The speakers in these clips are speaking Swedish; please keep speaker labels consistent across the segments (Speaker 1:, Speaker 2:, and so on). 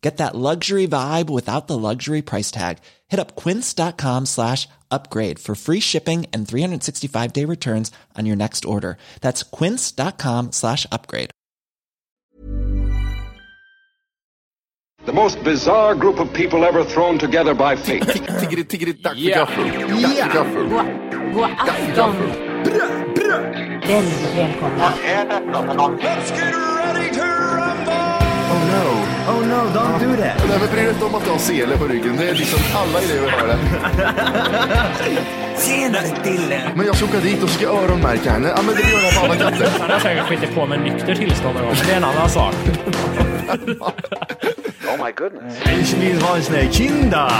Speaker 1: Get that luxury vibe without the luxury price tag. Hit up quince.com slash upgrade for free shipping and 365 day returns on your next order. That's quince.com slash upgrade.
Speaker 2: The most bizarre group of people ever thrown together by fate.
Speaker 3: Tiggeri, tiggeri, dack för gaffel. Dack för gaffel.
Speaker 4: God afton! Väldigt välkomna.
Speaker 3: Oh no.
Speaker 5: Oh no, don't do that!
Speaker 3: Nej, men bry dig inte om att du har sele på ryggen. Det är liksom alla elever har det.
Speaker 5: Tjena Dille!
Speaker 3: Men jag ska åka dit och ska öronmärka henne. Ja, men det gör jag på alla katter.
Speaker 6: Han har säkert skitit på med nykter tillstånd någon gång, men det är en annan sak.
Speaker 5: Ich vill ha en sån här kinda!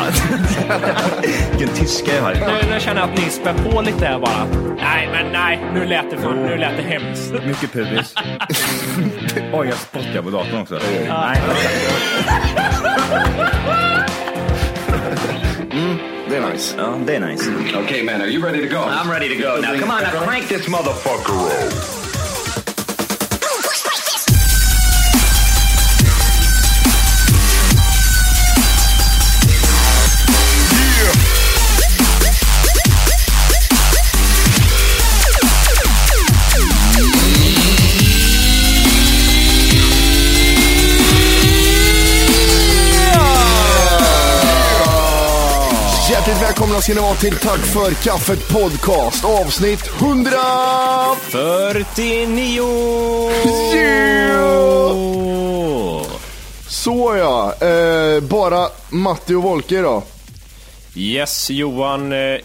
Speaker 5: Vilken tyska jag har.
Speaker 6: Nu, nu känner jag att ni spär på lite här bara. Nej, men nej. Nu lät det, fan, nu lät det hemskt.
Speaker 7: Mycket pubis. Oj, jag spottar på datorn också. Nej,
Speaker 3: Det är nice.
Speaker 7: ja, det är nice.
Speaker 2: Um, okay, man, are you ready to go?
Speaker 7: I'm ready to go now. Come on, now crank this motherfucker roll.
Speaker 3: Hjärtligt välkomna ska ni vara till Tack för kaffet podcast avsnitt 100!
Speaker 7: 49!
Speaker 3: Så ja, eh, bara Matti och Volke då.
Speaker 6: Yes, Johan eh,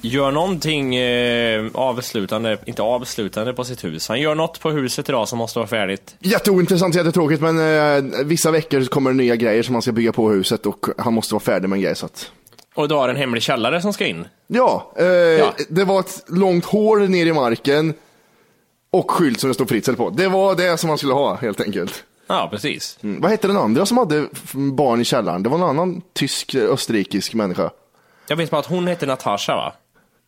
Speaker 6: gör någonting eh, avslutande, inte avslutande på sitt hus. Han gör något på huset idag som måste vara färdigt.
Speaker 3: Jätteointressant, jättetråkigt men eh, vissa veckor så kommer det nya grejer som man ska bygga på huset och han måste vara färdig med en grej så att
Speaker 6: Och du har en hemlig källare som ska in.
Speaker 3: Ja, eh, det var ett långt hål ner i marken och skylt som det stod Fritzl på. Det var det som man skulle ha helt enkelt.
Speaker 6: Ja, precis.
Speaker 3: Mm. Vad hette den andra som hade f- barn i källaren? Det var en annan tysk, eh, österrikisk människa.
Speaker 6: Jag vet bara att hon heter Natasha, va?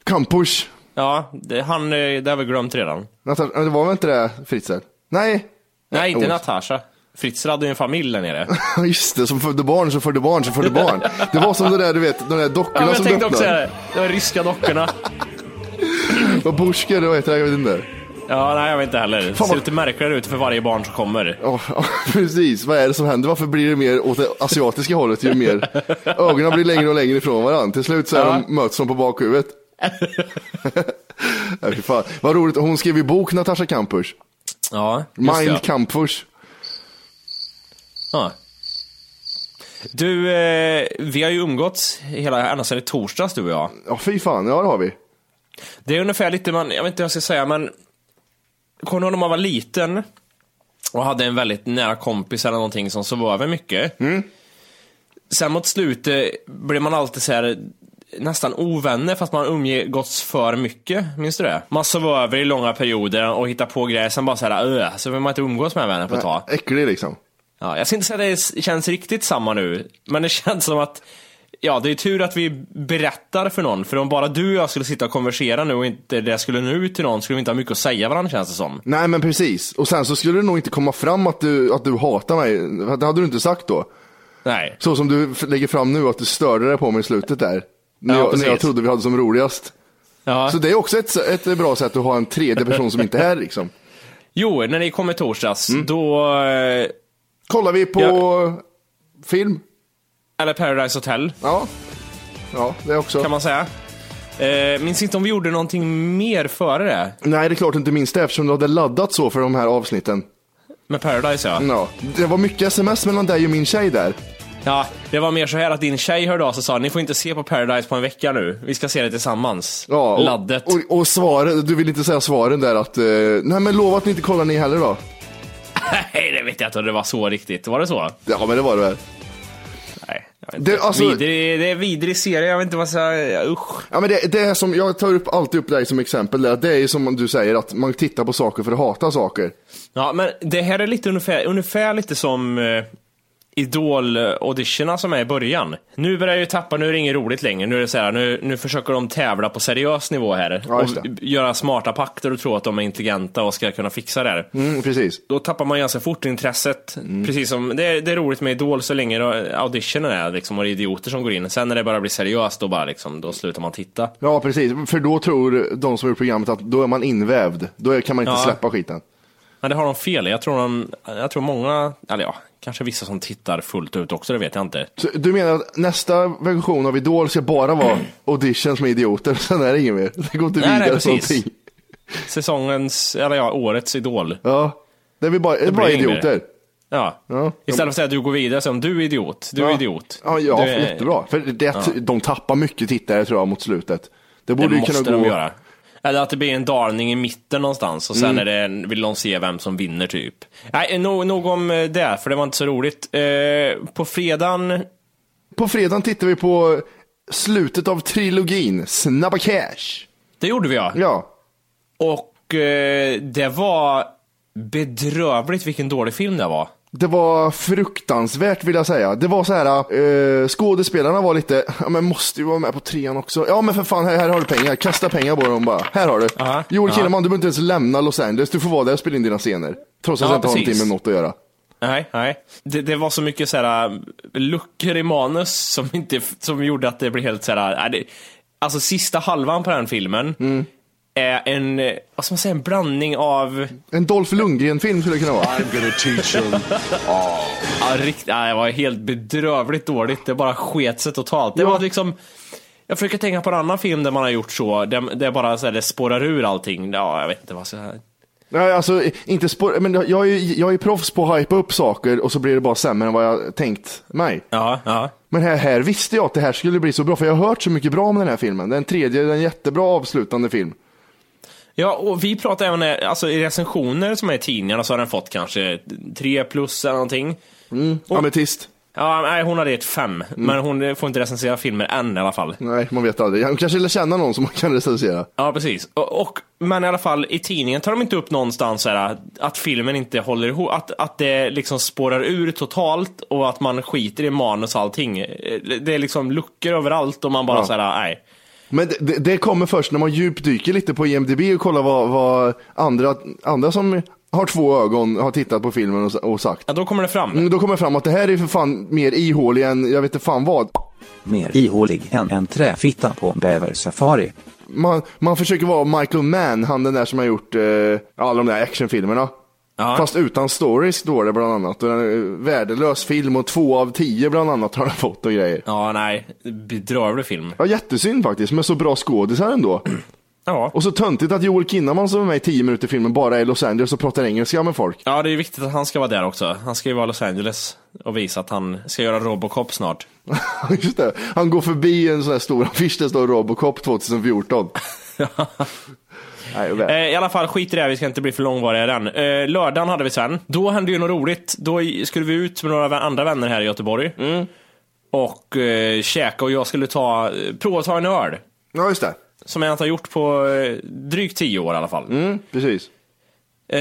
Speaker 3: Kampusch.
Speaker 6: Ja, det, han, eh, det har vi glömt redan.
Speaker 3: Natas- Det var väl inte det Fritzl? Nej,
Speaker 6: Nej, inte
Speaker 3: oh.
Speaker 6: Natasha. Fritzl hade ju en familj där nere.
Speaker 3: just det, som födde barn, som födde barn, som födde barn. Det var som det där, du vet, de där
Speaker 6: Ja,
Speaker 3: dockorna
Speaker 6: men jag
Speaker 3: som
Speaker 6: tänkte också säga
Speaker 3: öppnar.
Speaker 6: det. Det var ryska dockorna.
Speaker 3: Och Busker, vad heter det? Jag vet inte.
Speaker 6: Ja, nej jag vet inte heller. Det
Speaker 3: Fan,
Speaker 6: ser
Speaker 3: vad-
Speaker 6: lite märkligare ut för varje barn som kommer.
Speaker 3: Ja, ja, precis. Vad är det som händer? Varför blir det mer åt det asiatiska hållet ju mer ögonen blir längre och längre ifrån varandra? Till slut så är
Speaker 6: Ja.
Speaker 3: de möts de på bakhuvudet. Nej, fy fan. Vad roligt, hon skrev ju bok Natasha Kampusch.
Speaker 6: Ja, just
Speaker 3: Mind
Speaker 6: det.
Speaker 3: Kampusch.
Speaker 6: Ja. Du, eh, vi har ju umgåtts hela, ända sedan i torsdags du och jag.
Speaker 3: Ja, fy fan, ja det har vi.
Speaker 6: Det är ungefär lite, man, jag vet inte hur jag ska säga, men kommer du ihåg när man var liten och hade en väldigt nära kompis eller någonting som sov över mycket? Sen mot slutet blev man alltid så här nästan ovänner fast man umgåtts för mycket. Minns du det? Man sov över i långa perioder och hittade på grejer, sen bara så här, "Öh", så vill man inte umgås med vänner på ett tag.
Speaker 3: Äcklig liksom.
Speaker 6: Ja, jag ska inte säga att det s- känns riktigt samma nu, men det känns som att Ja, det är tur att vi berättar för någon, för om bara du och jag skulle sitta och konversera nu och inte det skulle nå ut till någon skulle vi inte ha mycket att säga varandra känns det som.
Speaker 3: Nej men precis, och sen så skulle det nog inte komma fram att du, att du hatar mig, För det hade du inte sagt då.
Speaker 6: Nej.
Speaker 3: Så som du f- lägger fram nu, att du störde dig på mig i slutet där. När,
Speaker 6: Ja,
Speaker 3: jag, när jag
Speaker 6: precis.
Speaker 3: trodde vi hade som roligast.
Speaker 6: Ja.
Speaker 3: Så det är också ett, ett bra sätt att ha en tredje person som inte är här liksom.
Speaker 6: Jo, när ni kom i torsdags,
Speaker 3: Mm.
Speaker 6: då... eh,
Speaker 3: Kollar vi på
Speaker 6: Ja.
Speaker 3: film?
Speaker 6: Eller Paradise Hotel,
Speaker 3: Ja. Ja, det också.
Speaker 6: kan man säga. Eh, minns inte om vi gjorde någonting mer före det.
Speaker 3: Nej, det är klart du inte minns det eftersom du hade laddat så för de här avsnitten.
Speaker 6: Med Paradise ja.
Speaker 3: Ja, det var mycket sms mellan dig och min tjej där.
Speaker 6: Ja, det var mer så här att din tjej hörde av sig och sa ni får inte se på Paradise på en vecka nu. Vi ska se det tillsammans.
Speaker 3: Ja, och,
Speaker 6: Laddet.
Speaker 3: Och, och svaren, du vill inte säga svaren där att, eh, nej men lova att ni inte kollar ni heller då.
Speaker 6: Nej, det vet jag inte om det var så riktigt. Var det så?
Speaker 3: Ja, men det var det väl.
Speaker 6: Nej. jag vet
Speaker 3: Det-
Speaker 6: inte.
Speaker 3: alltså-
Speaker 6: vidrig, det är vidrig serie, jag vet inte vad jag ska säga. Usch.
Speaker 3: Ja, men det, det är som, jag tar upp, alltid upp dig som exempel där, det är ju som du säger att man tittar på saker för att hata saker.
Speaker 6: Ja, men det här är lite ungefär, ungefär lite som eh, Idol-auditionerna som är i början. Nu börjar jag ju tappa, nu är det inget roligt längre. Nu, är det så här, nu, nu försöker de tävla på seriös nivå här.
Speaker 3: Ja,
Speaker 6: och
Speaker 3: just det.
Speaker 6: göra smarta pakter och tro att de är intelligenta och ska kunna fixa det här.
Speaker 3: Mm, precis.
Speaker 6: Då tappar man ganska fort intresset.
Speaker 3: Mm.
Speaker 6: Precis som, det, är, det är roligt med Idol så länge då auditionen är liksom, och det är idioter som går in. Sen när det bara blir seriöst, då, bara, liksom, då slutar man titta.
Speaker 3: Ja, precis. För då tror de som har gjort programmet att då är man invävd. Då är- kan man inte
Speaker 6: Ja.
Speaker 3: släppa skiten.
Speaker 6: Men det har de fel i. Jag tror, de, jag tror många, eller ja, kanske vissa som tittar fullt ut också, det vet jag inte.
Speaker 3: Så du menar att nästa version av Idol ska bara vara auditions med idioter, sen är det inget mer? Det går inte
Speaker 6: Nej, nej,
Speaker 3: vidare
Speaker 6: precis.
Speaker 3: nej, någonting.
Speaker 6: Säsongens, eller ja, årets Idol.
Speaker 3: Ja, det är vi bara, det är bara
Speaker 6: blir inget
Speaker 3: idioter.
Speaker 6: Ja.
Speaker 3: Ja.
Speaker 6: Istället för att säga att du går vidare, så om du är idiot, du är idiot.
Speaker 3: Ja, ja
Speaker 6: du är,
Speaker 3: jättebra. För det, de tappar mycket tittare tror jag mot slutet. Det
Speaker 6: Det
Speaker 3: borde ju
Speaker 6: måste
Speaker 3: kunna
Speaker 6: de
Speaker 3: gå...
Speaker 6: göra. Eller att det blir en darning i mitten någonstans och
Speaker 3: Mm.
Speaker 6: sen är det, vill de se vem som vinner typ. Nej, nog, nog om eh, det, för det var inte så roligt. Eh, på fredagen,
Speaker 3: På fredagen tittar vi på slutet av trilogin, Snabba Cash.
Speaker 6: det gjorde vi ja.
Speaker 3: Ja,
Speaker 6: Och eh, det var bedrövligt vilken dålig film det var.
Speaker 3: Det var fruktansvärt vill jag säga. Det var så här, eh, skådespelarna var lite, ja men måste ju vara med på trean också. Ja men för fan, här, här har du pengar, kasta pengar på dem bara. Här har du.
Speaker 6: Aha,
Speaker 3: Joel
Speaker 6: aha.
Speaker 3: Kinnaman, du behöver inte ens lämna Los Angeles, du får vara där och spela in dina scener. Trots att
Speaker 6: Ja,
Speaker 3: jag inte har
Speaker 6: precis.
Speaker 3: någonting med något att göra.
Speaker 6: Nej, nej. Det, det var så mycket så här, luckor i manus som, inte, som gjorde att det blev helt så här, nej, det, Alltså sista halvan på den filmen är en, eh, vad ska man säga, en blandning av
Speaker 3: En Dolph Lundgren-film skulle det kunna vara.
Speaker 6: Ja, rikt, ja, det var helt bedrövligt dåligt. Det bara sket sig totalt. Det var liksom... Jag försöker tänka på en annan film där man har gjort så. Där där bara så här, det spårar ur allting. Ja, jag vet inte vad jag
Speaker 3: Nej, alltså inte spår, men jag är, ju, jag är ju proffs på att hypa upp saker och så blir det bara sämre än vad jag tänkt mig.
Speaker 6: Ja, ja.
Speaker 3: Men här, här visste jag att det här skulle bli så bra, för jag har hört så mycket bra om den här filmen. Den tredje, den jättebra avslutande film.
Speaker 6: Ja, och vi pratar även eh, alltså, i recensioner som är i tidningarna så har den fått kanske 3 plus eller någonting.
Speaker 3: Ametist.
Speaker 6: Ja, nej, hon hade ett 5, men hon får inte recensera filmer än i alla fall.
Speaker 3: Nej, man vet aldrig. Han kanske lär känna någon som man kan recensera.
Speaker 6: Ja, precis. Och, och, men i alla fall, i tidningen tar de inte upp någonstans så här, att- att filmen inte håller ihop, att, att det liksom spårar ur totalt och att man skiter i manus och allting. Eh, Det är liksom luckor överallt och man bara
Speaker 3: Ja.
Speaker 6: så här, nej.
Speaker 3: Men det- det, det kommer först när man djupdyker lite på IMDB och kollar vad, vad andra, andra som har två ögon har tittat på filmen och, s- och sagt.
Speaker 6: Ja, då kommer det fram.
Speaker 3: Mm, Då kommer jag fram att det här är för fan mer ihålig än jag vet inte fan vad.
Speaker 8: Mer ihålig än en träfitta på bäversafari.
Speaker 3: Man, man försöker vara Michael Mann, han den där som har gjort eh, alla de där actionfilmerna.
Speaker 6: Ja.
Speaker 3: Fast utan stories då det bland annat. Och den är värdelös film och två av tio bland annat har den fått och grejer.
Speaker 6: Ja, nej. Bedrövlig film.
Speaker 3: Ja, jättesynd faktiskt, men så bra skådisar ändå.
Speaker 6: Ja.
Speaker 3: Och så töntigt att Joel Kinnaman som är med i 10 minuter i filmen bara är i Los Angeles och pratar engelska med folk.
Speaker 6: Ja, det är viktigt att han ska vara där också. Han ska ju vara i Los Angeles och visa att han ska göra Robocop snart.
Speaker 3: Just det. Han går förbi en sån här stor affisch där det står Robocop 2014. Nej, jag vet.
Speaker 6: Eh, I alla fall, skit i det, här, vi ska inte bli för långvariga i den. Eh, lördagen hade vi sen. Då hände ju något roligt. Då i- skulle vi ut med några vä- andra vänner här i Göteborg. Och eh, käka och jag skulle ta, eh, prova att ta en öl.
Speaker 3: ja, just det.
Speaker 6: Som jag inte har gjort på eh, drygt tio år i alla fall.
Speaker 3: Mm, precis.
Speaker 6: Eh,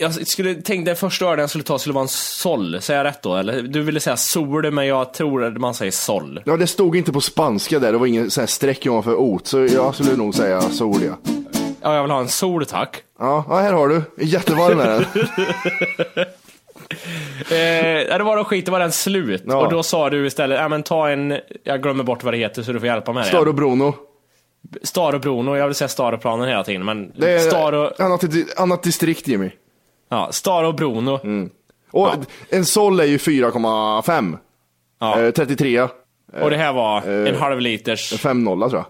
Speaker 6: jag skulle tänkte den första ölen jag skulle ta skulle vara en sol. Säger jag rätt då? Eller, du ville säga sol, men jag tror att man säger sol.
Speaker 3: Ja, det stod inte på spanska där, det var ingen sån här streck ovanför ot, så jag skulle nog säga sol, ja.
Speaker 6: Ja, jag vill ha en sol tack.
Speaker 3: Ja, ja, här har du. Jättevarm är den.
Speaker 6: Eh, ja, det var då skit, det var den slut.
Speaker 3: Ja.
Speaker 6: Och då sa du istället, ja men ta en, jag glömmer bort vad det heter så du får hjälpa mig.
Speaker 3: Star och Bruno.
Speaker 6: Star och Bruno, jag vill säga Staroplanen hela tiden, men
Speaker 3: Det är
Speaker 6: Star och,
Speaker 3: Eh, annat, annat distrikt, Jimmy.
Speaker 6: ja, Star och Bruno.
Speaker 3: Mm. Och en sol är ju 4,5.
Speaker 6: Ja.
Speaker 3: Eh, 33, Eh,
Speaker 6: Och det här var en halv liters,
Speaker 3: 5,0 tror jag.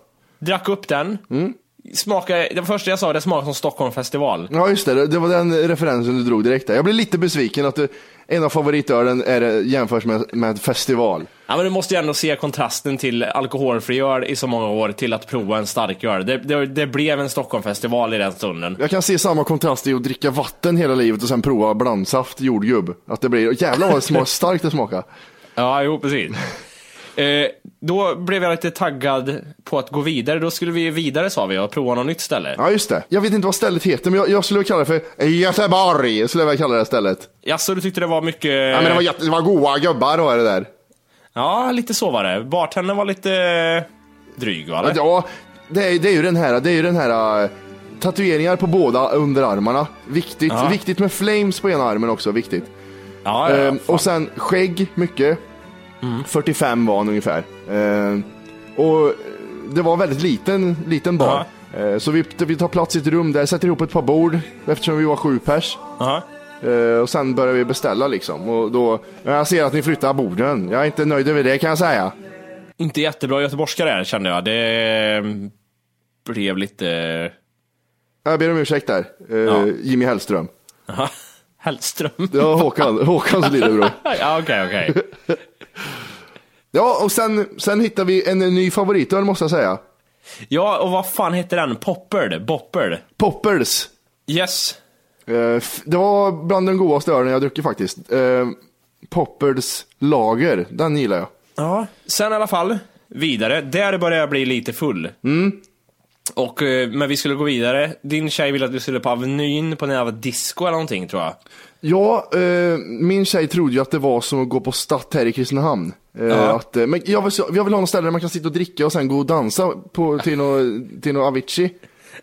Speaker 6: Drack upp den.
Speaker 3: Mm.
Speaker 6: Smakade, det första jag sa, det smakade som Stockholm festival.
Speaker 3: Ja, just det. det. Det var den referensen du drog direkt där. Jag blev lite besviken att du, en av favoritölen är, det- jämförs med, med festival.
Speaker 6: Ja, men du måste ju ändå se kontrasten till alkoholfri öl i så många år till att prova en stark öl. Det, det, det blev en Stockholmfestival i den stunden.
Speaker 3: Jag kan se samma kontrast i att dricka vatten hela livet och sen prova blandsaft, jordgubb. Att det blir, jävlar vad smak, starkt det smakar.
Speaker 6: Ja, jo precis. Eh, då blev jag lite taggad på att gå vidare. Då skulle vi vidare sa vi och prova något nytt ställe.
Speaker 3: Ja, just det. Jag vet inte vad stället heter, men jag, jag skulle kalla det för Göteborg. Skulle jag väl kalla det här stället.
Speaker 6: Jaså, du tyckte det var mycket...
Speaker 3: Ja, men det var, jätte- det var goa gubbar var det där.
Speaker 6: Ja, lite så var det. Bartendern var lite eh, dryg va? eller?
Speaker 3: Ja, det är, det är ju den här, det är ju den här eh, tatueringar på båda underarmarna. Viktigt,
Speaker 6: Ja.
Speaker 3: viktigt med flames på ena armen också, viktigt.
Speaker 6: ja,
Speaker 3: Ehm,
Speaker 6: ja, fan. Mm.
Speaker 3: och sen skägg, mycket. 45 var han ungefär. Ehm, och det var väldigt liten, liten bar. Ehm, så vi, vi tar plats i ett rum där, sätter ihop ett par bord eftersom vi var sju pers.
Speaker 6: Aha.
Speaker 3: Ehm, och sen börjar vi beställa liksom. Och då, "Ja, jag ser att ni flyttar borden. Jag är inte nöjd över det kan jag säga.
Speaker 6: Inte jättebra göteborgska där kände jag. Det ehm, blev lite... eh,
Speaker 3: Jag ber om ursäkt där, Ehm,
Speaker 6: Ja.
Speaker 3: Jimmy Hellström.
Speaker 6: Aha. Hellström.
Speaker 3: Det var Håkan, Håkans lillebror.
Speaker 6: ja, okej, okej.
Speaker 3: Ja, och sen, sen hittar vi en ny favoritöl måste jag säga.
Speaker 6: Ja, och vad fan heter den? Popperd? Bopperd?
Speaker 3: Poppers.
Speaker 6: Yes.
Speaker 3: Eh, f- Det var bland den godaste ölen jag druckit faktiskt. Eh, Poppers lager, den gillar jag.
Speaker 6: Ja. Sen i alla fall, vidare. Där började jag bli lite full.
Speaker 3: Mm.
Speaker 6: Och, eh, men vi skulle gå vidare. Din tjej ville att vi skulle på Avenyn på en jävla disco eller någonting tror jag.
Speaker 3: Ja, eh, min tjej trodde ju att det var som att gå på Statt här i Kristinehamn. Eh, att, eh, men jag vill, så- jag vill ha något ställe där man kan sitta och dricka och sen gå och dansa på, till något till nå Avicii.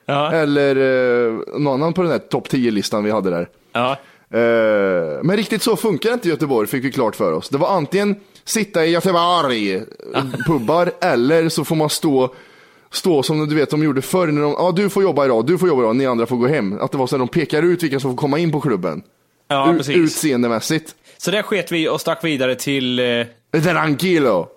Speaker 6: Ja.
Speaker 3: Eller eh, någon annan på den här topp 10-listan vi hade där.
Speaker 6: ja.
Speaker 3: Eh, Men riktigt så funkar inte Göteborg, fick vi klart för oss. Det var antingen sitta i Göteborg, eh,
Speaker 6: Ah.
Speaker 3: pubbar, eller så får man stå, stå som du vet de gjorde förr, när de, ah, du får jobba idag, du får jobba idag, ni andra får gå hem. Att det var så här, de pekar ut vilka som får komma in på klubben.
Speaker 6: Ja,
Speaker 3: U-
Speaker 6: precis.
Speaker 3: utseendemässigt.
Speaker 6: Så där sket vi och stack vidare till... Eh,
Speaker 3: Tranquilo.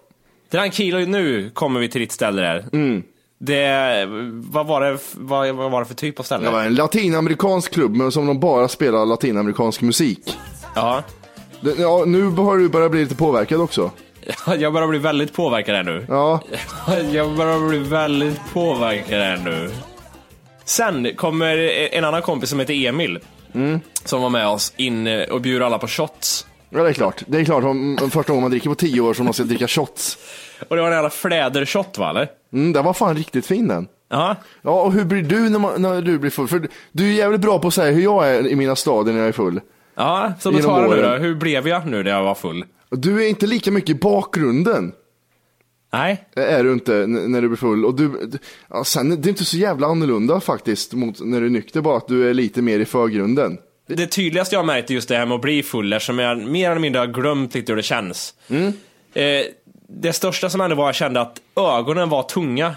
Speaker 6: Tranquilo, nu kommer vi till ditt ställe där.
Speaker 3: Mm.
Speaker 6: Det, vad, var det, f- vad, vad var det för typ av ställe?
Speaker 3: Det var en latinamerikansk klubb, men som de bara spelar latinamerikansk musik.
Speaker 6: Ja.
Speaker 3: Det- Ja, nu har du börjat bli lite påverkad också.
Speaker 6: Jag börjar bli väldigt påverkad här nu.
Speaker 3: Ja,
Speaker 6: Jag börjar bli väldigt påverkad här nu. Sen kommer en annan kompis som heter Emil. Som var med oss in eh, och bjuder alla på shots.
Speaker 3: ja det är klart. Det är klart, om, om första gången man dricker på tio år som man ska dricka shots.
Speaker 6: Och det var en jävla flädershot va eller?
Speaker 3: Mm, den var fan riktigt fin den.
Speaker 6: Ja.
Speaker 3: Ja, och hur blir du när, man, när du blir full? För du- du är jävligt bra på att säga hur jag är i mina stadier när jag är full.
Speaker 6: Ja, så då
Speaker 3: Genom
Speaker 6: tar jag nu då.
Speaker 3: åren.
Speaker 6: Hur blev jag nu när jag var full?
Speaker 3: Och Du är inte lika mycket i bakgrunden,
Speaker 6: Nej.
Speaker 3: eh, är du inte, n- när du blir full. Och du, du- ja, sen, är det är inte så jävla annorlunda faktiskt mot när du är nykter, bara att du är lite mer i förgrunden.
Speaker 6: Det tydligaste jag har märkt är just det här med att bli full eftersom jag mer eller mindre har glömt lite hur det känns.
Speaker 3: Mm.
Speaker 6: Eh, det största som hände var att jag kände att ögonen var tunga.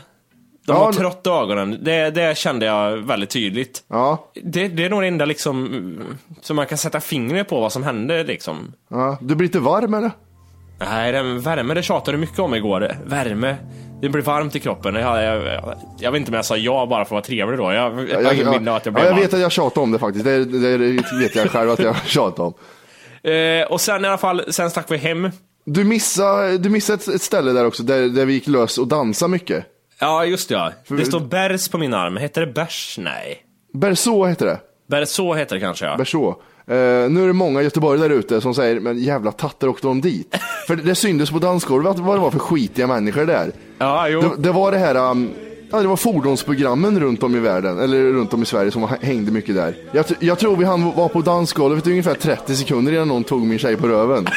Speaker 6: De
Speaker 3: Ja,
Speaker 6: var
Speaker 3: n-
Speaker 6: trötta ögonen. Det, det kände jag väldigt tydligt.
Speaker 3: Ja,
Speaker 6: Det, det är nog det enda liksom, mm, som man kan sätta fingret på vad som hände liksom.
Speaker 3: ja. Du blir inte varm eller?
Speaker 6: Nej, den värme det tjatade du mycket om igår. Värme. Det blir varmt i kroppen. Jag, jag, jag, jag vet inte om jag sa ja bara för att vara trevlig då. Jag, jag, har ingen minne av att jag
Speaker 3: ja,
Speaker 6: blev
Speaker 3: jag
Speaker 6: varm.
Speaker 3: vet att jag tjatar om det faktiskt. Det, det, det vet jag själv att jag tjatar om.
Speaker 6: Eh, och sen i alla fall, sen stack vi hem.
Speaker 3: Du missade, du missade ett, ett ställe där också, där, där vi gick lös och dansade mycket.
Speaker 6: Ja, just det, ja. Det står bärs på min arm. Heter det bärs? Nej.
Speaker 3: Berså heter det.
Speaker 6: Berså heter det kanske, ja.
Speaker 3: Berså. Eh, nu är det många Göteborg där ute som säger, men jävla tattar åkte de dit? för det syndes på dansgolvet vad det var för skitiga människor där.
Speaker 6: Ja,
Speaker 3: Det,
Speaker 6: jo.
Speaker 3: det var det här, um, ja det var fordonsprogrammen runt om i världen, eller runt om i Sverige som hängde mycket där. Jag, tr- jag tror vi han var på dansgolvet i ungefär 30 sekunder innan någon tog min tjej på röven.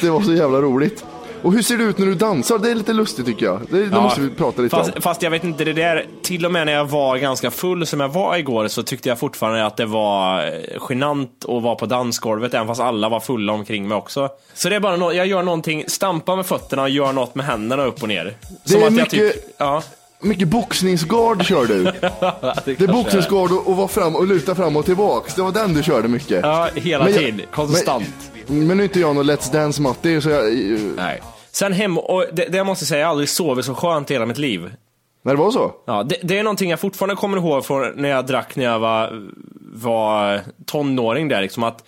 Speaker 3: det var så jävla roligt. Och hur ser det ut när du dansar? Det är lite lustigt tycker jag. Det, det
Speaker 6: Ja.
Speaker 3: måste vi prata lite om.
Speaker 6: fast, fast jag vet inte, det där, till och med när jag var ganska full som jag var igår så tyckte jag fortfarande att det var eh, genant att vara på dansgolvet även fast alla var fulla omkring mig också. Så det är bara nå- jag gör någonting, stampar med fötterna och gör något med händerna upp och ner.
Speaker 3: är
Speaker 6: jag
Speaker 3: mycket-
Speaker 6: typ, ja.
Speaker 3: Mycket boxningsgard kör du. Det är boxningsgård och, och vara fram och luta fram och tillbaks. Det var den du körde mycket.
Speaker 6: Ja, hela
Speaker 3: Men jag-
Speaker 6: tiden. Konstant.
Speaker 3: Men nu är inte jag någon Let's Dance Matti, så jag...
Speaker 6: Nej. Sen hem, och det, det måste jag säga, jag har aldrig sovit så skönt i hela mitt liv.
Speaker 3: När det var så?
Speaker 6: Ja, det, det är någonting jag fortfarande kommer ihåg från när jag drack när jag var, var tonåring där liksom att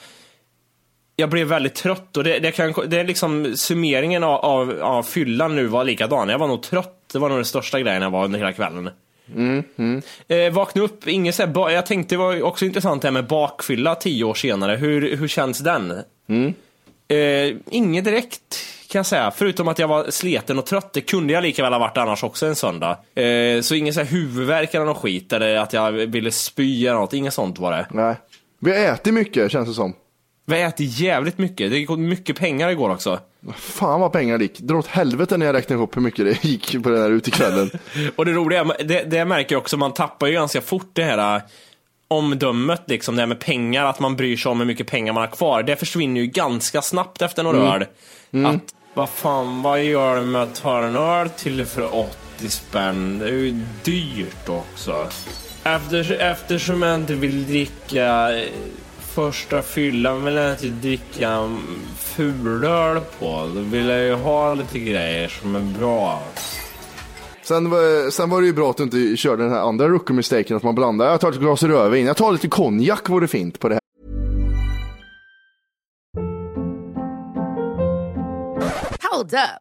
Speaker 6: jag blev väldigt trött och det, det, kan, det är liksom summeringen av, av, av fyllan nu var likadan. Jag var nog trött, det var nog den största grejen jag var under hela kvällen. Eh, vakna upp, inget så här, ba- jag tänkte det var också intressant det här med bakfylla tio år senare. Hur, hur känns den? Eh, inget direkt kan jag säga, förutom att jag var sleten och trött. Det kunde jag lika väl ha varit annars också en söndag. Eh, så ingen så här huvudvärk eller någon skit, eller att jag ville spy eller något. Inget sånt var det.
Speaker 3: Nej. Vi har ätit mycket känns det som.
Speaker 6: Vi äter jävligt mycket. Det gick åt mycket pengar igår också.
Speaker 3: Fan vad pengar det gick. Dra åt helvete när jag räknar ihop hur mycket det gick på den här utekvällen.
Speaker 6: Och det roliga, är- det, det märker jag också, man tappar ju ganska fort det här äh, omdömet, liksom, det här med pengar, att man bryr sig om hur mycket pengar man har kvar. Det försvinner ju ganska snabbt efter några öl. Att, vad fan, vad gör du med att ta en öl till för 80 spänn? Det är ju dyrt också. Efter, eftersom jag inte vill dricka eh, första fyllan vill jag inte dricka fulöl på. Då vill jag ju ha lite grejer som är bra.
Speaker 3: Sen, var- sen var det ju bra att du inte körde den här andra rookie-mistaken att man blandar. Jag tar ett glas rödvin, jag tar lite konjak vore fint på det här.
Speaker 9: Hold up.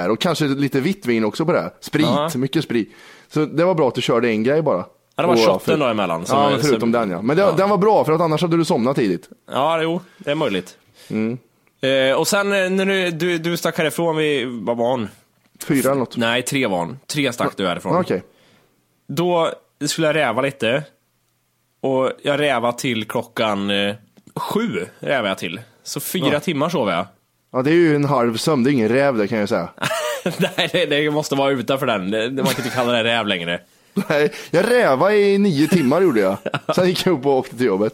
Speaker 3: här. Och kanske lite vitt vin också på det här. Sprit,
Speaker 6: Ja.
Speaker 3: mycket sprit. Så det var bra att du körde en grej bara.
Speaker 6: Ja, det var
Speaker 3: Och
Speaker 6: shotten
Speaker 3: för-
Speaker 6: då emellan som-
Speaker 3: Ja, men förutom
Speaker 6: som-
Speaker 3: den ja. Men det, den var bra för att annars hade du somnat tidigt.
Speaker 6: Ja, jo, det är möjligt. Eh, och sen eh, när du, du, du stack härifrån vid, vad var hon?
Speaker 3: Fyra eller något.
Speaker 6: Nej, tre var hon. Tre stack du härifrån.
Speaker 3: Ja, Okej.
Speaker 6: Då skulle jag räva lite. Och jag räva till klockan eh, sju, räva jag till. Så fyra timmar sov jag.
Speaker 3: Ja, det är ju en halv sömn, det är ingen räv det kan jag säga.
Speaker 6: Nej, det, det måste vara utanför den. Det, det- man kan inte kalla det räv längre.
Speaker 3: Nej, jag rävade i nio timmar gjorde jag. Sen gick jag upp och åkte till jobbet.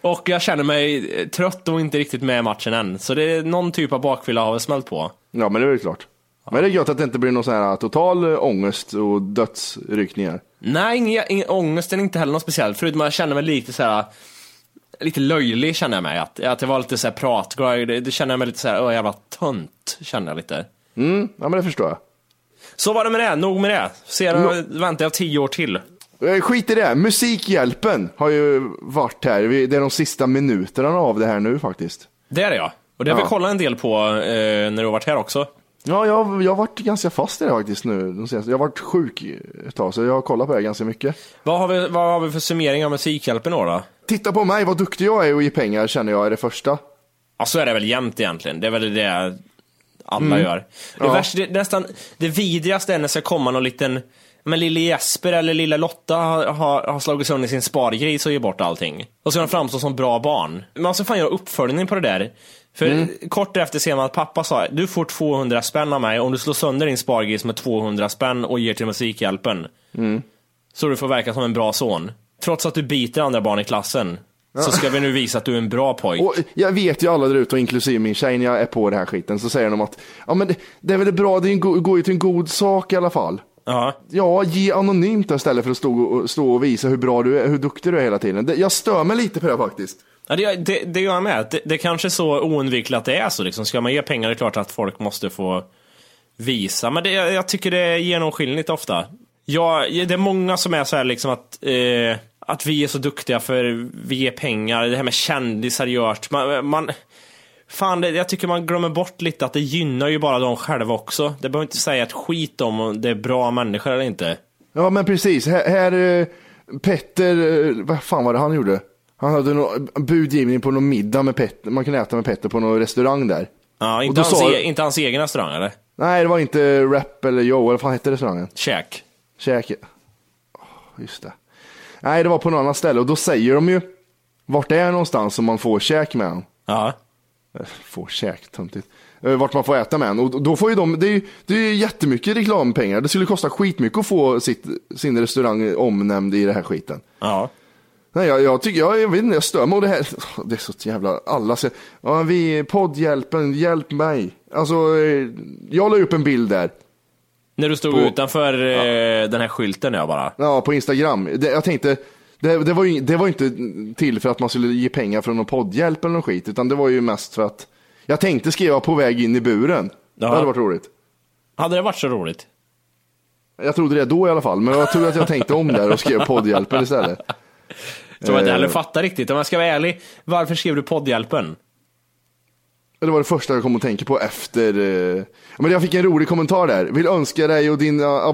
Speaker 6: Och jag känner mig eh, trött och inte riktigt med i matchen än. Så det är någon typ av bakfylla har väl smält på.
Speaker 3: Ja, men det är väl klart. Men det är gött att det inte blir någon sån här total eh, ångest och dödsryckningar.
Speaker 6: Nej, ingen, ingen ångesten är inte heller något speciellt, förutom att jag kände mig lite så här lite löjlig kände jag mig, att, att jag var lite så här pratglad, det, det kände jag mig lite så här, åh jävla tönt, kände jag lite.
Speaker 3: Mm, ja men det förstår jag.
Speaker 6: Så var det med det, nog med det. Sedan väntar jag tio år till.
Speaker 3: Eh, Skit i det, Musikhjälpen har ju varit här. Vi- Det är de sista minuterna av det här nu faktiskt.
Speaker 6: Det är det ja. Och det har vi
Speaker 3: Ja.
Speaker 6: kollat en del på eh, när du har varit här också.
Speaker 3: Ja, jag, jag har varit ganska fast i det faktiskt nu. De senaste. Jag har varit sjuk ett tag, så jag har kollat på det ganska mycket.
Speaker 6: Vad har vi, vad har vi för summering av Musikhjälpen då? då?
Speaker 3: Titta på mig, vad duktig jag är och ge pengar känner jag är det första.
Speaker 6: Ja, så är det väl jämt egentligen. Det är väl det alla gör. Det,
Speaker 3: Mm. Ja.
Speaker 6: värsta, det, nästan, det vidrigaste är när det ska komma någon liten, men lille Jesper eller lilla Lotta har, har, har slagit sönder sin spargris och ger bort allting. Och så de framstå som bra barn. Man ska fan göra uppföljning på det där. För
Speaker 3: Mm.
Speaker 6: kort efter ser man att pappa sa, du får 200 spänn av mig om du slår sönder din spargris med 200 spänn och ger till Musikhjälpen.
Speaker 3: Mm.
Speaker 6: Så du får verka som en bra son. Trots att du biter andra barn i klassen, så ska vi nu visa att du är en bra pojk.
Speaker 3: Och jag vet ju alla där ute, och inklusive min tjej, när jag är på den här skiten, så säger de att ja, men det, det är väl bra, det är en go- går ju till en god sak i alla fall.
Speaker 6: Ja.
Speaker 3: Ja, ge anonymt då istället för att stå och, stå och visa hur bra du är, hur duktig du är hela tiden. Det, jag stör mig lite på det faktiskt.
Speaker 6: Ja, det, det, det gör jag med. Det, det är kanske är så oundvikligt att det är så. Liksom. Ska man ge pengar det är klart att folk måste få visa. Men det, jag tycker det är genomskinligt ofta. Ja, det är många som är så här liksom att, eh, att vi är så duktiga för vi ger pengar. Det här med kändisar görs. Man, man, Fan, det, jag tycker man glömmer bort lite att det gynnar ju bara dem själva också. Det behöver inte säga ett skit om om det är bra människor eller inte.
Speaker 3: Ja, men precis. Här, här eh, Petter, eh, vad fan var det han gjorde? Han hade någon budgivning på någon middag med Petter. Man kunde äta med Petter på någon restaurang där.
Speaker 6: Ja,
Speaker 3: Och
Speaker 6: inte,
Speaker 3: då
Speaker 6: hans,
Speaker 3: sa-
Speaker 6: e- inte hans egen restaurang eller?
Speaker 3: Nej, det var inte Rap eller Joe, eller vad fan hette restaurangen?
Speaker 6: Käk.
Speaker 3: Käke. Åh, Just det. Nej, det var på något annat ställe och då säger de ju vart det är någonstans som man får käk med en. Eh,
Speaker 6: Ja.
Speaker 3: Får käk, töntigt. Eh, Vart man får äta med en. Och då får ju de, det är ju det är ju jättemycket reklampengar. Det skulle kosta skitmycket att få sitt, sin restaurang omnämnd i den här skiten.
Speaker 6: Ja.
Speaker 3: Nej, jag, jag tycker, jag, jag vet inte, jag stör mig och det här. Det är så jävla, alla säger, ja vi, poddhjälpen, hjälp mig. Alltså, eh, jag la upp en bild där.
Speaker 6: När du stod
Speaker 3: På-
Speaker 6: utanför eh, den här skylten jag bara.
Speaker 3: Ja, på Instagram. Det, jag tänkte, det, det, var ju, det var ju inte till för att man skulle ge pengar från någon poddhjälp eller någon skit, utan det var ju mest för att jag tänkte skriva på väg in i buren. Det
Speaker 6: Ja.
Speaker 3: hade varit roligt.
Speaker 6: Hade det varit så roligt?
Speaker 3: Jag trodde det då i alla fall, men jag tror att jag tänkte om där och skrev poddhjälpen istället.
Speaker 6: Som jag inte
Speaker 3: Eh.
Speaker 6: heller fattar riktigt. Om jag ska vara ärlig, varför skrev du poddhjälpen?
Speaker 3: Det var det första jag kom att tänka på efter. eh, Men jag fick en rolig kommentar där. Vill önska dig och din eh,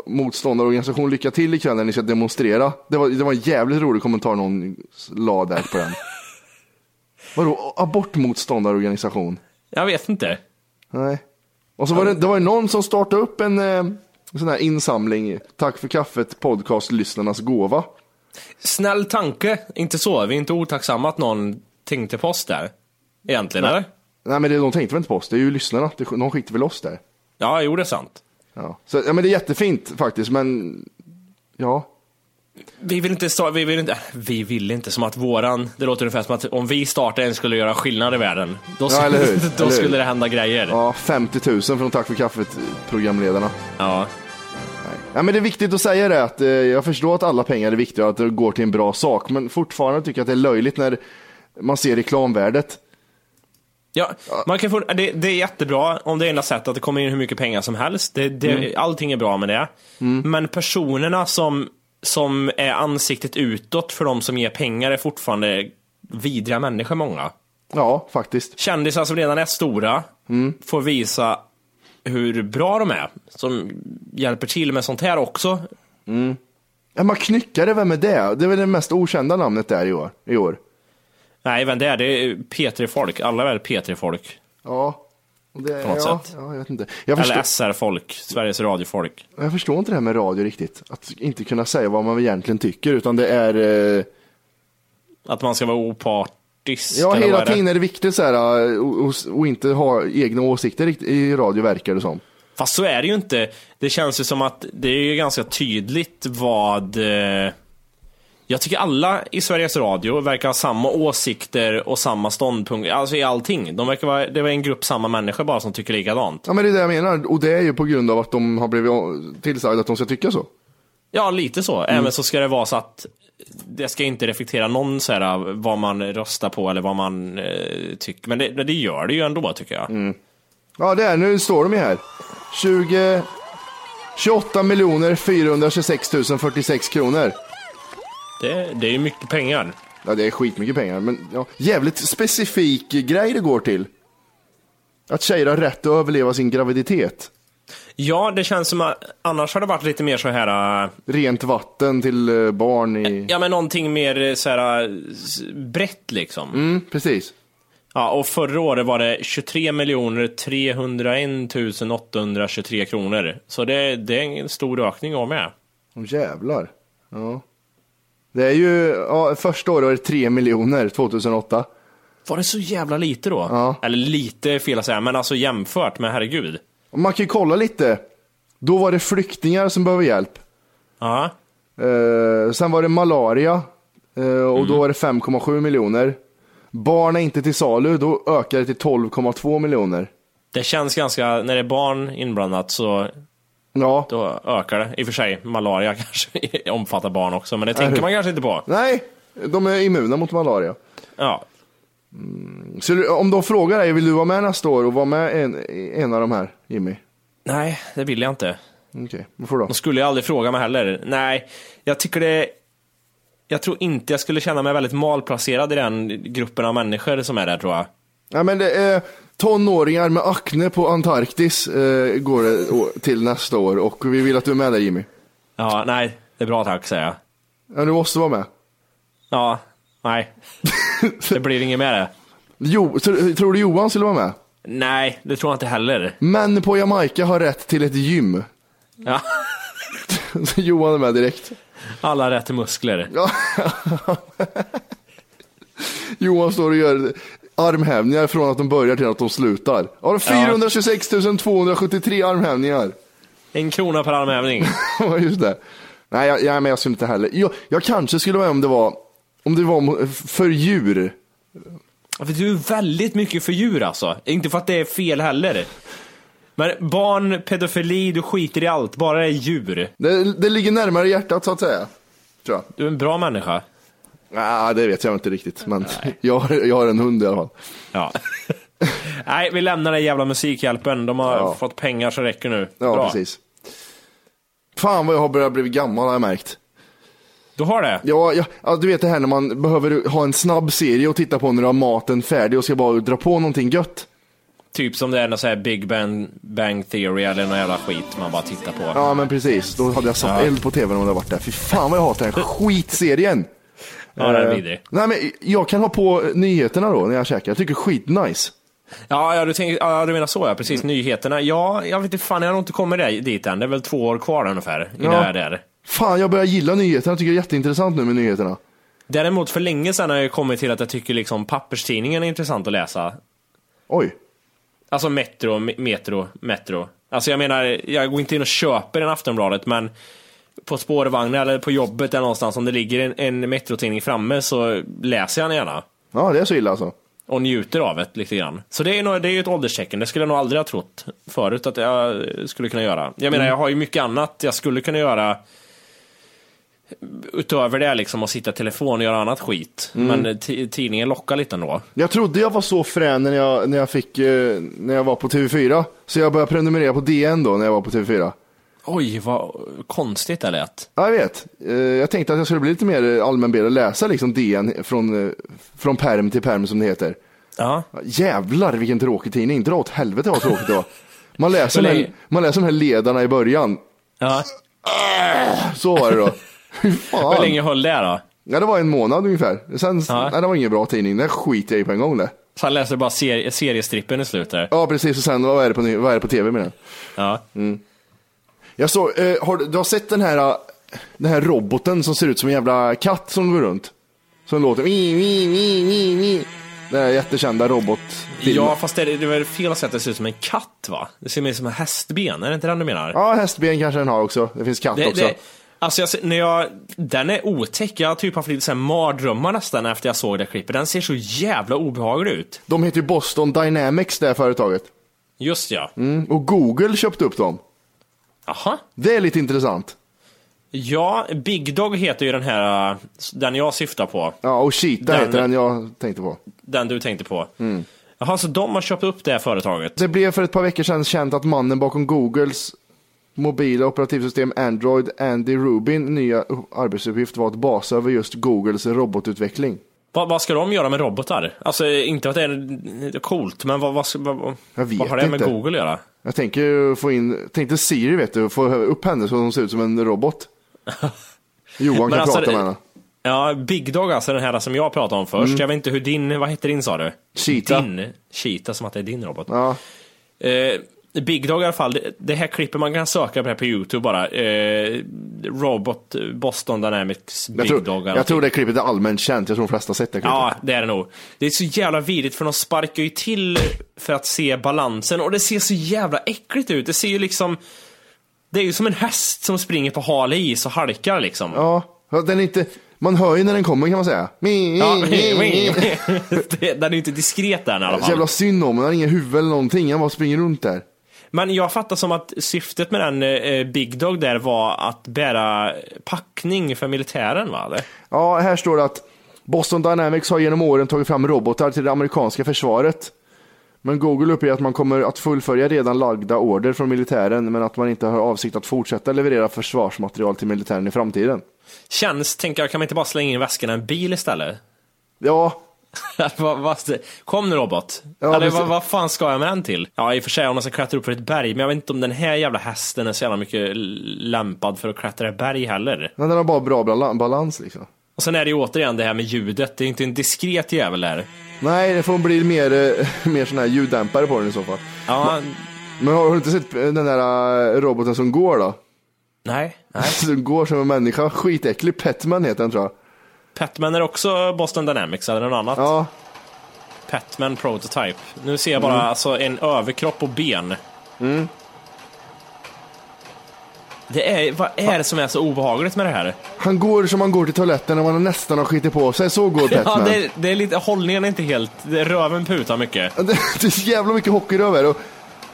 Speaker 3: abortmotståndarorganisation lycka till ikväll när ni ska demonstrera. Det var, det var en jävligt rolig kommentar någon la där på den. Vadå abortmotståndarorganisation?
Speaker 6: Jag vet inte.
Speaker 3: Nej. Och så var det, det var ju någon som startade upp en eh, sån här insamling. Tack för kaffet podcast lyssnarnas gåva.
Speaker 6: Snäll tanke, inte så. Vi är inte otacksamma att någon tänkte på oss där. Egentligen, eller?
Speaker 3: Nej men det, de tänkte väl inte på oss, det är ju lyssnarna. Det- De skiter väl oss där.
Speaker 6: Ja, jo det är sant.
Speaker 3: Ja. Så, ja men det är jättefint faktiskt men ja.
Speaker 6: Vi vill inte starta, vi vill inte, äh, vi vill inte som att våran, det låter ungefär som att om vi startade en skulle göra skillnad i världen. Då,
Speaker 3: Ja, eller hur?
Speaker 6: då
Speaker 3: Eller hur?
Speaker 6: skulle det hända grejer.
Speaker 3: Ja, 50 000 från Tack för kaffet programledarna.
Speaker 6: Ja.
Speaker 3: Ja, men det är viktigt att säga det att eh, jag förstår att alla pengar är viktiga och att det går till en bra sak, men fortfarande tycker jag att det är löjligt när man ser reklamvärdet.
Speaker 6: Ja, man kan få, det, det är jättebra om det är enda sättet att det kommer in hur mycket pengar som helst. Det, det,
Speaker 3: Mm.
Speaker 6: Allting är bra med det. Men personerna som, som är ansiktet utåt för de som ger pengar är fortfarande vidriga människor många.
Speaker 3: Ja, faktiskt.
Speaker 6: Kändisar som redan är stora
Speaker 3: Mm.
Speaker 6: får visa hur bra de är. Som hjälper till med sånt här också.
Speaker 3: Ja, man knyckare, vem är det? Det är väl det mest okända namnet där i år. I år.
Speaker 6: Nej, vem det är, det är P3-folk. Alla är väl P3-folk.
Speaker 3: Ja, och det,
Speaker 6: På något
Speaker 3: ja,
Speaker 6: sätt.
Speaker 3: ja, jag vet inte. Jag förstår,
Speaker 6: Eller SR-folk, Sveriges Radio-folk.
Speaker 3: jag förstår inte det här med radio riktigt. Att inte kunna säga vad man egentligen tycker, utan det är... Eh,
Speaker 6: Att man ska vara opartisk.
Speaker 3: Ja,
Speaker 6: eller vad
Speaker 3: hela
Speaker 6: är det?
Speaker 3: tiden är det viktigt så här, eh, och, och, och inte ha egna åsikter rikt- i radio, verkar det som.
Speaker 6: Fast så är det ju inte. Det känns ju som att det är ju ganska tydligt vad... Eh, jag tycker alla i Sveriges Radio verkar ha samma åsikter och samma ståndpunkter. Alltså i allting. De verkar vara, det var en grupp samma människor bara som tycker likadant.
Speaker 3: Ja men det är det jag menar och det är ju på grund av att de har blivit tillsagda att de ska tycka så.
Speaker 6: Ja, lite så. Även så ska det vara så att det ska inte reflektera någon så här, eh, vad man röstar på eller vad man eh, tycker. Men det, det gör det ju ändå tycker jag.
Speaker 3: Ja det är, nu står de ju här. 20, 28 miljoner 426 046 kronor.
Speaker 6: Det, det är ju mycket pengar.
Speaker 3: Ja det är skitmycket pengar men ja, jävligt specifik grej det går till. Att tjejer har rätt att överleva sin graviditet.
Speaker 6: Ja, det känns som att annars har det varit lite mer så här... eh,
Speaker 3: Rent vatten till eh, barn i...
Speaker 6: Ja men någonting mer eh, så här eh, s- brett liksom.
Speaker 3: Mm, precis.
Speaker 6: Ja, och förra året var det 23 miljoner 301 823 kronor. Så det, det är en stor ökning av med.
Speaker 3: Åh jävlar. Ja. Det är ju, ja, första året var det 3 miljoner 2008.
Speaker 6: Var det så jävla lite då? Eller lite är fel att säga, men alltså jämfört med herregud.
Speaker 3: Och Man kan ju kolla lite. Då var det flyktingar som behöver hjälp.
Speaker 6: Ja,
Speaker 3: Eh, sen var det malaria eh, och då var det 5,7 miljoner. Barn är inte till salu, då ökar det till 12,2 miljoner.
Speaker 6: det känns ganska, när det är barn inblandat så
Speaker 3: Ja,
Speaker 6: då ökar det. I och för sig, malaria kanske omfattar barn också, men det tänker man kanske inte på.
Speaker 3: nej, de är immuna mot malaria.
Speaker 6: Ja,
Speaker 3: Så du- om de frågar dig, vill du vara med nästa år och vara med en, en av de här, Jimmy?
Speaker 6: nej, det vill jag inte.
Speaker 3: Okej, varför då?
Speaker 6: De skulle ju aldrig fråga mig heller. Nej, jag tycker det... Jag tror inte jag skulle känna mig väldigt malplacerad i den gruppen av människor som är där tror jag.
Speaker 3: Ja, men det är tonåringar med akne på Antarktis eh, går det å- till nästa år och vi vill att du är med där Jimmy.
Speaker 6: Ja, nej, det är bra tack säger jag.
Speaker 3: Ja, du måste vara med.
Speaker 6: Ja, nej. Det blir inget med det.
Speaker 3: Jo, tr- tror du Johan skulle vara med?
Speaker 6: Nej, det tror jag inte heller.
Speaker 3: Män på Jamaica har rätt till ett gym.
Speaker 6: Ja.
Speaker 3: Johan är med direkt.
Speaker 6: Alla har rätt till muskler.
Speaker 3: Johan står och gör armhävningar från att de börjar till att de slutar. Har 426 273 armhävningar.
Speaker 6: En krona per armhävning.
Speaker 3: Ja, just det. Nej, jag, jag, men jag skulle inte heller. Jag, jag kanske skulle vara med om det var, om det var mo- för djur.
Speaker 6: För du är väldigt mycket för djur alltså. Inte för att det är fel heller. Men barn, pedofili, du skiter i allt. Bara det är djur.
Speaker 3: Det, det ligger närmare hjärtat så att säga. Tror jag.
Speaker 6: Du är en bra människa.
Speaker 3: Nej, det vet jag inte riktigt, men jag har, jag har en hund i alla fall.
Speaker 6: Ja. Nej, vi lämnar den jävla Musikhjälpen. De har
Speaker 3: Ja.
Speaker 6: fått pengar så räcker nu.
Speaker 3: Ja,
Speaker 6: Bra.
Speaker 3: precis. Fan vad jag har börjat bli gammal har jag märkt.
Speaker 6: Du har det?
Speaker 3: Ja, ja, ja, du vet det här när man behöver ha en snabb serie att titta på när du har maten färdig och ska bara dra på någonting gött.
Speaker 6: Typ som det är någon sån här Big Bang, Bang Theory eller någon jävla skit man bara tittar på.
Speaker 3: Ja, men precis. Då hade jag satt
Speaker 6: Ja.
Speaker 3: eld på tvn om det hade varit där. Fy fan vad jag hatar den här skitserien.
Speaker 6: Ja, den är
Speaker 3: Eh,
Speaker 6: vidrig.
Speaker 3: Nej, men jag kan ha på nyheterna då när jag käkar. Jag tycker skitnice.
Speaker 6: Ja, ja, du, tänker, ja du menar så ja, precis.
Speaker 3: Mm.
Speaker 6: Nyheterna. Ja, jag vet inte fan, jag har nog inte kommit där, dit än. Det är väl två år kvar ungefär innan
Speaker 3: Ja.
Speaker 6: jag är där.
Speaker 3: Fan, jag börjar gilla nyheterna. Jag tycker det är jätteintressant nu med nyheterna.
Speaker 6: Däremot för länge sedan har jag ju kommit till att jag tycker liksom papperstidningen är intressant att läsa.
Speaker 3: Oj.
Speaker 6: Alltså Metro, Me- Metro, Metro. Alltså jag menar, jag går inte in och köper en Aftonbladet, men på spårvagnen eller på jobbet eller någonstans, om det ligger en, en Metro-tidning framme så läser jag den gärna.
Speaker 3: Ja, det är så illa alltså.
Speaker 6: och njuter av det lite grann. Så det är, nog, det är ju ett ålderstecken, det skulle jag nog aldrig ha trott förut att jag skulle kunna göra. Jag menar, jag har ju mycket annat jag skulle kunna göra utöver det liksom, att sitta i telefon och göra annat skit. Men ti- tidningen lockar lite ändå.
Speaker 3: Jag trodde jag var så frän när jag, när jag, fick, eh, när jag var på TV4. Så jag började prenumerera på DN då när jag var på TV4.
Speaker 6: Oj, vad konstigt det lät.
Speaker 3: Ja, jag vet. Eh, Jag tänkte att jag skulle bli lite mer allmänbildad och läsa liksom DN från, eh, från perm till perm som det heter.
Speaker 6: Ja.
Speaker 3: Jävlar vilken tråkig tidning. Dra åt helvete vad tråkigt det var. Man läser,
Speaker 6: Så
Speaker 3: de
Speaker 6: länge-
Speaker 3: här, man läser de här ledarna i början.
Speaker 6: Ja.
Speaker 3: Så var det då. Hur
Speaker 6: Hur
Speaker 3: fan?
Speaker 6: länge höll det då?
Speaker 3: Ja, det var en månad ungefär. Sen,
Speaker 6: Ja.
Speaker 3: nej, det var ingen bra tidning. Den skiter jag i på en gång det.
Speaker 6: Sen läser du bara seri- seriestrippen i slutet.
Speaker 3: Ja, precis. Och sen, vad är det på, ny- vad är det på tv med den?
Speaker 6: Ja.
Speaker 3: Jag såg, eh, har, du- du har sett den här, eh, den här roboten som ser ut som en jävla katt som går runt? Som låter... Mi, mi, mi, mi, mi. Den här jättekända robotfilmen.
Speaker 6: Ja, fast det är, det är väl fel att säga att det ser ut som en katt va? Det ser mer ut som en hästben, är det inte den du menar?
Speaker 3: Ja, hästben kanske den har också. Det finns katt
Speaker 6: Det,
Speaker 3: också.
Speaker 6: det, alltså jag, ser- när jag, den är otäck, jag har typ haft lite så här mardrömmar nästan efter jag såg det klippet. Den ser så jävla obehaglig ut.
Speaker 3: De heter ju Boston Dynamics, det här företaget.
Speaker 6: Just ja.
Speaker 3: Mm. Och Google köpte upp dem.
Speaker 6: Aha.
Speaker 3: Det är lite intressant.
Speaker 6: Ja, Big Dog heter ju den här, äh, den jag syftar på.
Speaker 3: Ja, och Cheetah
Speaker 6: Den-
Speaker 3: heter den jag tänkte på.
Speaker 6: Den du tänkte på.
Speaker 3: Mm.
Speaker 6: Jaha, så de har köpt upp det här företaget?
Speaker 3: Det blev för ett par veckor sedan känt att mannen bakom Googles mobila operativsystem Android, Andy Rubin, nya arbetsuppgift var att basa över just Googles robotutveckling.
Speaker 6: Vad, vad ska de göra med robotar? Alltså, inte att det är coolt, men vad, vad, ska- vad,
Speaker 3: Jag vet
Speaker 6: vad har det med
Speaker 3: inte.
Speaker 6: Google att göra?
Speaker 3: Jag tänker ju få in, tänkte Siri vet du, få upp henne så hon ser ut som en robot. Johan kan
Speaker 6: Men alltså,
Speaker 3: prata med
Speaker 6: det-
Speaker 3: henne.
Speaker 6: Ja, Big Dog alltså, den här som jag pratade om först. Jag vet inte hur din, vad heter din sa du?
Speaker 3: Cheetah.
Speaker 6: Din? Cheetah, som att det är din robot.
Speaker 3: Ja.
Speaker 6: Eh, Big Dog i alla fall, det- det här klippet, man kan söka på det här på YouTube bara. Eh, Robot eh, Boston Dynamics Big
Speaker 3: Jag, tror,
Speaker 6: Dog. eller
Speaker 3: jag tror det
Speaker 6: någonting.
Speaker 3: klippet är allmänt känt, jag tror de flesta har sett det klippet.
Speaker 6: Ja, det är det nog. Det är så jävla vidrigt för de sparkar ju till för att se balansen och det ser så jävla äckligt ut. Det ser ju liksom... Det är ju som en häst som springer på hal is och halkar liksom.
Speaker 3: Ja, den är inte, man hör ju när den kommer kan man säga. Mi,
Speaker 6: Ja,
Speaker 3: mi, mi, mi.
Speaker 6: Det- Den är ju inte diskret den i alla
Speaker 3: mm. Så
Speaker 6: fall.
Speaker 3: jävla synd om den, har ingen huvud eller någonting, han bara springer runt där.
Speaker 6: Men jag fattar som att syftet med den eh, Big Dog där var att bära packning för militären va? Eller?
Speaker 3: Ja, här står det att Boston Dynamics har genom åren tagit fram robotar till det amerikanska försvaret. Men Google uppger att man kommer att fullfölja redan lagda order från militären men att man inte har avsikt att fortsätta leverera försvarsmaterial till militären i framtiden.
Speaker 6: Känns, tänker jag, kan man inte bara slänga in i väskan en bil istället?
Speaker 3: Ja,
Speaker 6: Vad- vad- Kom nu robot.
Speaker 3: Ja,
Speaker 6: Eller
Speaker 3: precis.
Speaker 6: vad, vad fan ska jag med den till? Ja, i och för sig om man ska klättra upp för ett berg, men jag vet inte om den här jävla hästen är så jävla mycket lämpad för att klättra ett berg heller.
Speaker 3: Men den har bara bra bala- balans liksom.
Speaker 6: Och sen är det ju återigen det här med ljudet, det är inte en diskret jävel här.
Speaker 3: Nej, det får bli mer, eh, mer sån här ljuddämpare på den i så fall.
Speaker 6: Ja,
Speaker 3: Men har har du inte sett eh, den där eh, roboten som går då?
Speaker 6: nej.
Speaker 3: Som går som en människa. Skitäcklig. Petman heter den tror jag.
Speaker 6: Petman är också Boston Dynamics eller något annat.
Speaker 3: Ja.
Speaker 6: Petman Prototype. Nu ser jag bara
Speaker 3: Mm.
Speaker 6: alltså en överkropp och ben. Det är, vad är det som är så obehagligt med det här?
Speaker 3: Han går som han går till toaletten när man nästan har skitit på sig. Så går
Speaker 6: Ja,
Speaker 3: Petman.
Speaker 6: det, är- det är lite, hållningen är inte helt, det är röven putar mycket.
Speaker 3: Det är så jävla mycket hockeyröv här och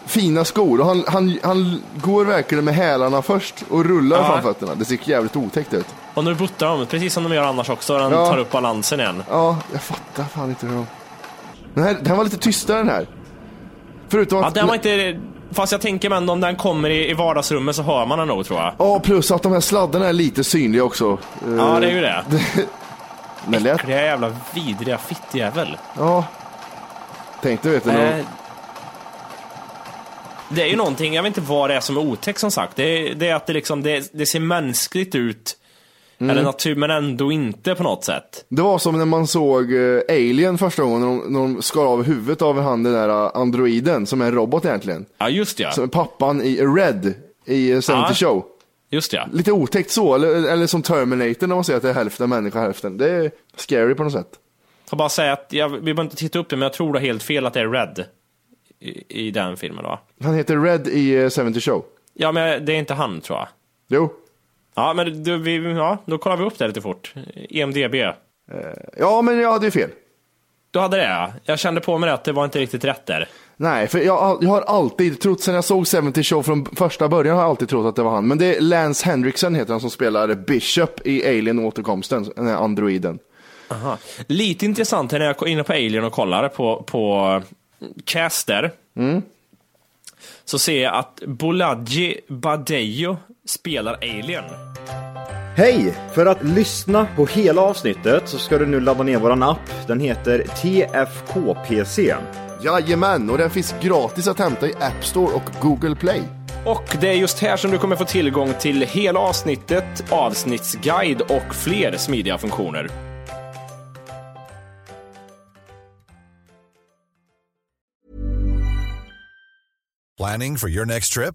Speaker 3: fina skor. Och han, han, han går verkligen med hälarna först och rullar
Speaker 6: Ja.
Speaker 3: framfötterna. Det ser jävligt otäckt ut.
Speaker 6: Och nu buttar de, precis som de gör annars också, den
Speaker 3: Ja.
Speaker 6: tar upp balansen igen.
Speaker 3: Ja, jag fattar fan inte hur de... Den här, den här var lite tystare den här. Förutom
Speaker 6: Ja,
Speaker 3: att...
Speaker 6: den var inte, fast jag tänker mig ändå om den kommer i, i vardagsrummet så hör man den nog tror jag.
Speaker 3: Ja, plus att de här sladdarna är lite synliga också.
Speaker 6: Ja,
Speaker 3: Eh,
Speaker 6: det är ju det.
Speaker 3: Men lätt.
Speaker 6: Äckliga jävla vidriga fittjävel.
Speaker 3: Ja. Tänkte vet du
Speaker 6: Eh,
Speaker 3: nog.
Speaker 6: Det är ju någonting, jag vet inte vad det är som är otäckt som sagt. Det är, det är att det, liksom, det, det ser mänskligt ut, eller natur, men ändå inte på något sätt.
Speaker 3: Det var som när man såg eh, Alien första gången, när de, när de skar av huvudet av han den där eh, androiden, som är en robot egentligen.
Speaker 6: Ja, just ja.
Speaker 3: Som är pappan i Red i eh, 70
Speaker 6: Ja.
Speaker 3: Show.
Speaker 6: Just ja.
Speaker 3: Lite otäckt så, eller, eller som Terminator när man säger att det är hälften människa hälften. Det är scary på något sätt.
Speaker 6: Får bara säga att, jag, vi behöver inte titta upp det, men jag tror det är helt fel att det är Red i, i den filmen då.
Speaker 3: Han heter Red i eh, 70 Show.
Speaker 6: Ja, men det är inte han tror jag.
Speaker 3: Jo.
Speaker 6: Ja, men då, vi, ja, då kollar vi upp det lite fort. E EMDB.
Speaker 3: Ja, men jag hade ju fel.
Speaker 6: Du hade det ja. Jag kände på mig att det var inte riktigt rätt där.
Speaker 3: Nej, för jag, jag har alltid trott, sen jag såg 70 Show från första början har jag alltid trott att det var han. Men det är Lance Henriksen heter han som spelar Bishop i Alien återkomsten, den här androiden.
Speaker 6: Aha. Lite intressant här när jag går inne på Alien och kollar på, på Caster.
Speaker 3: Mm.
Speaker 6: Så ser jag att Bolaji Badejo spelar Alien.
Speaker 10: Hej! För att lyssna på hela avsnittet så ska du nu ladda ner våran app. Den heter TFKPC.
Speaker 3: Jajamän, och den finns gratis att hämta i App Store och Google Play.
Speaker 6: Och det är just här som du kommer få tillgång till hela avsnittet, avsnittsguide och fler smidiga funktioner.
Speaker 11: Planning for your next trip?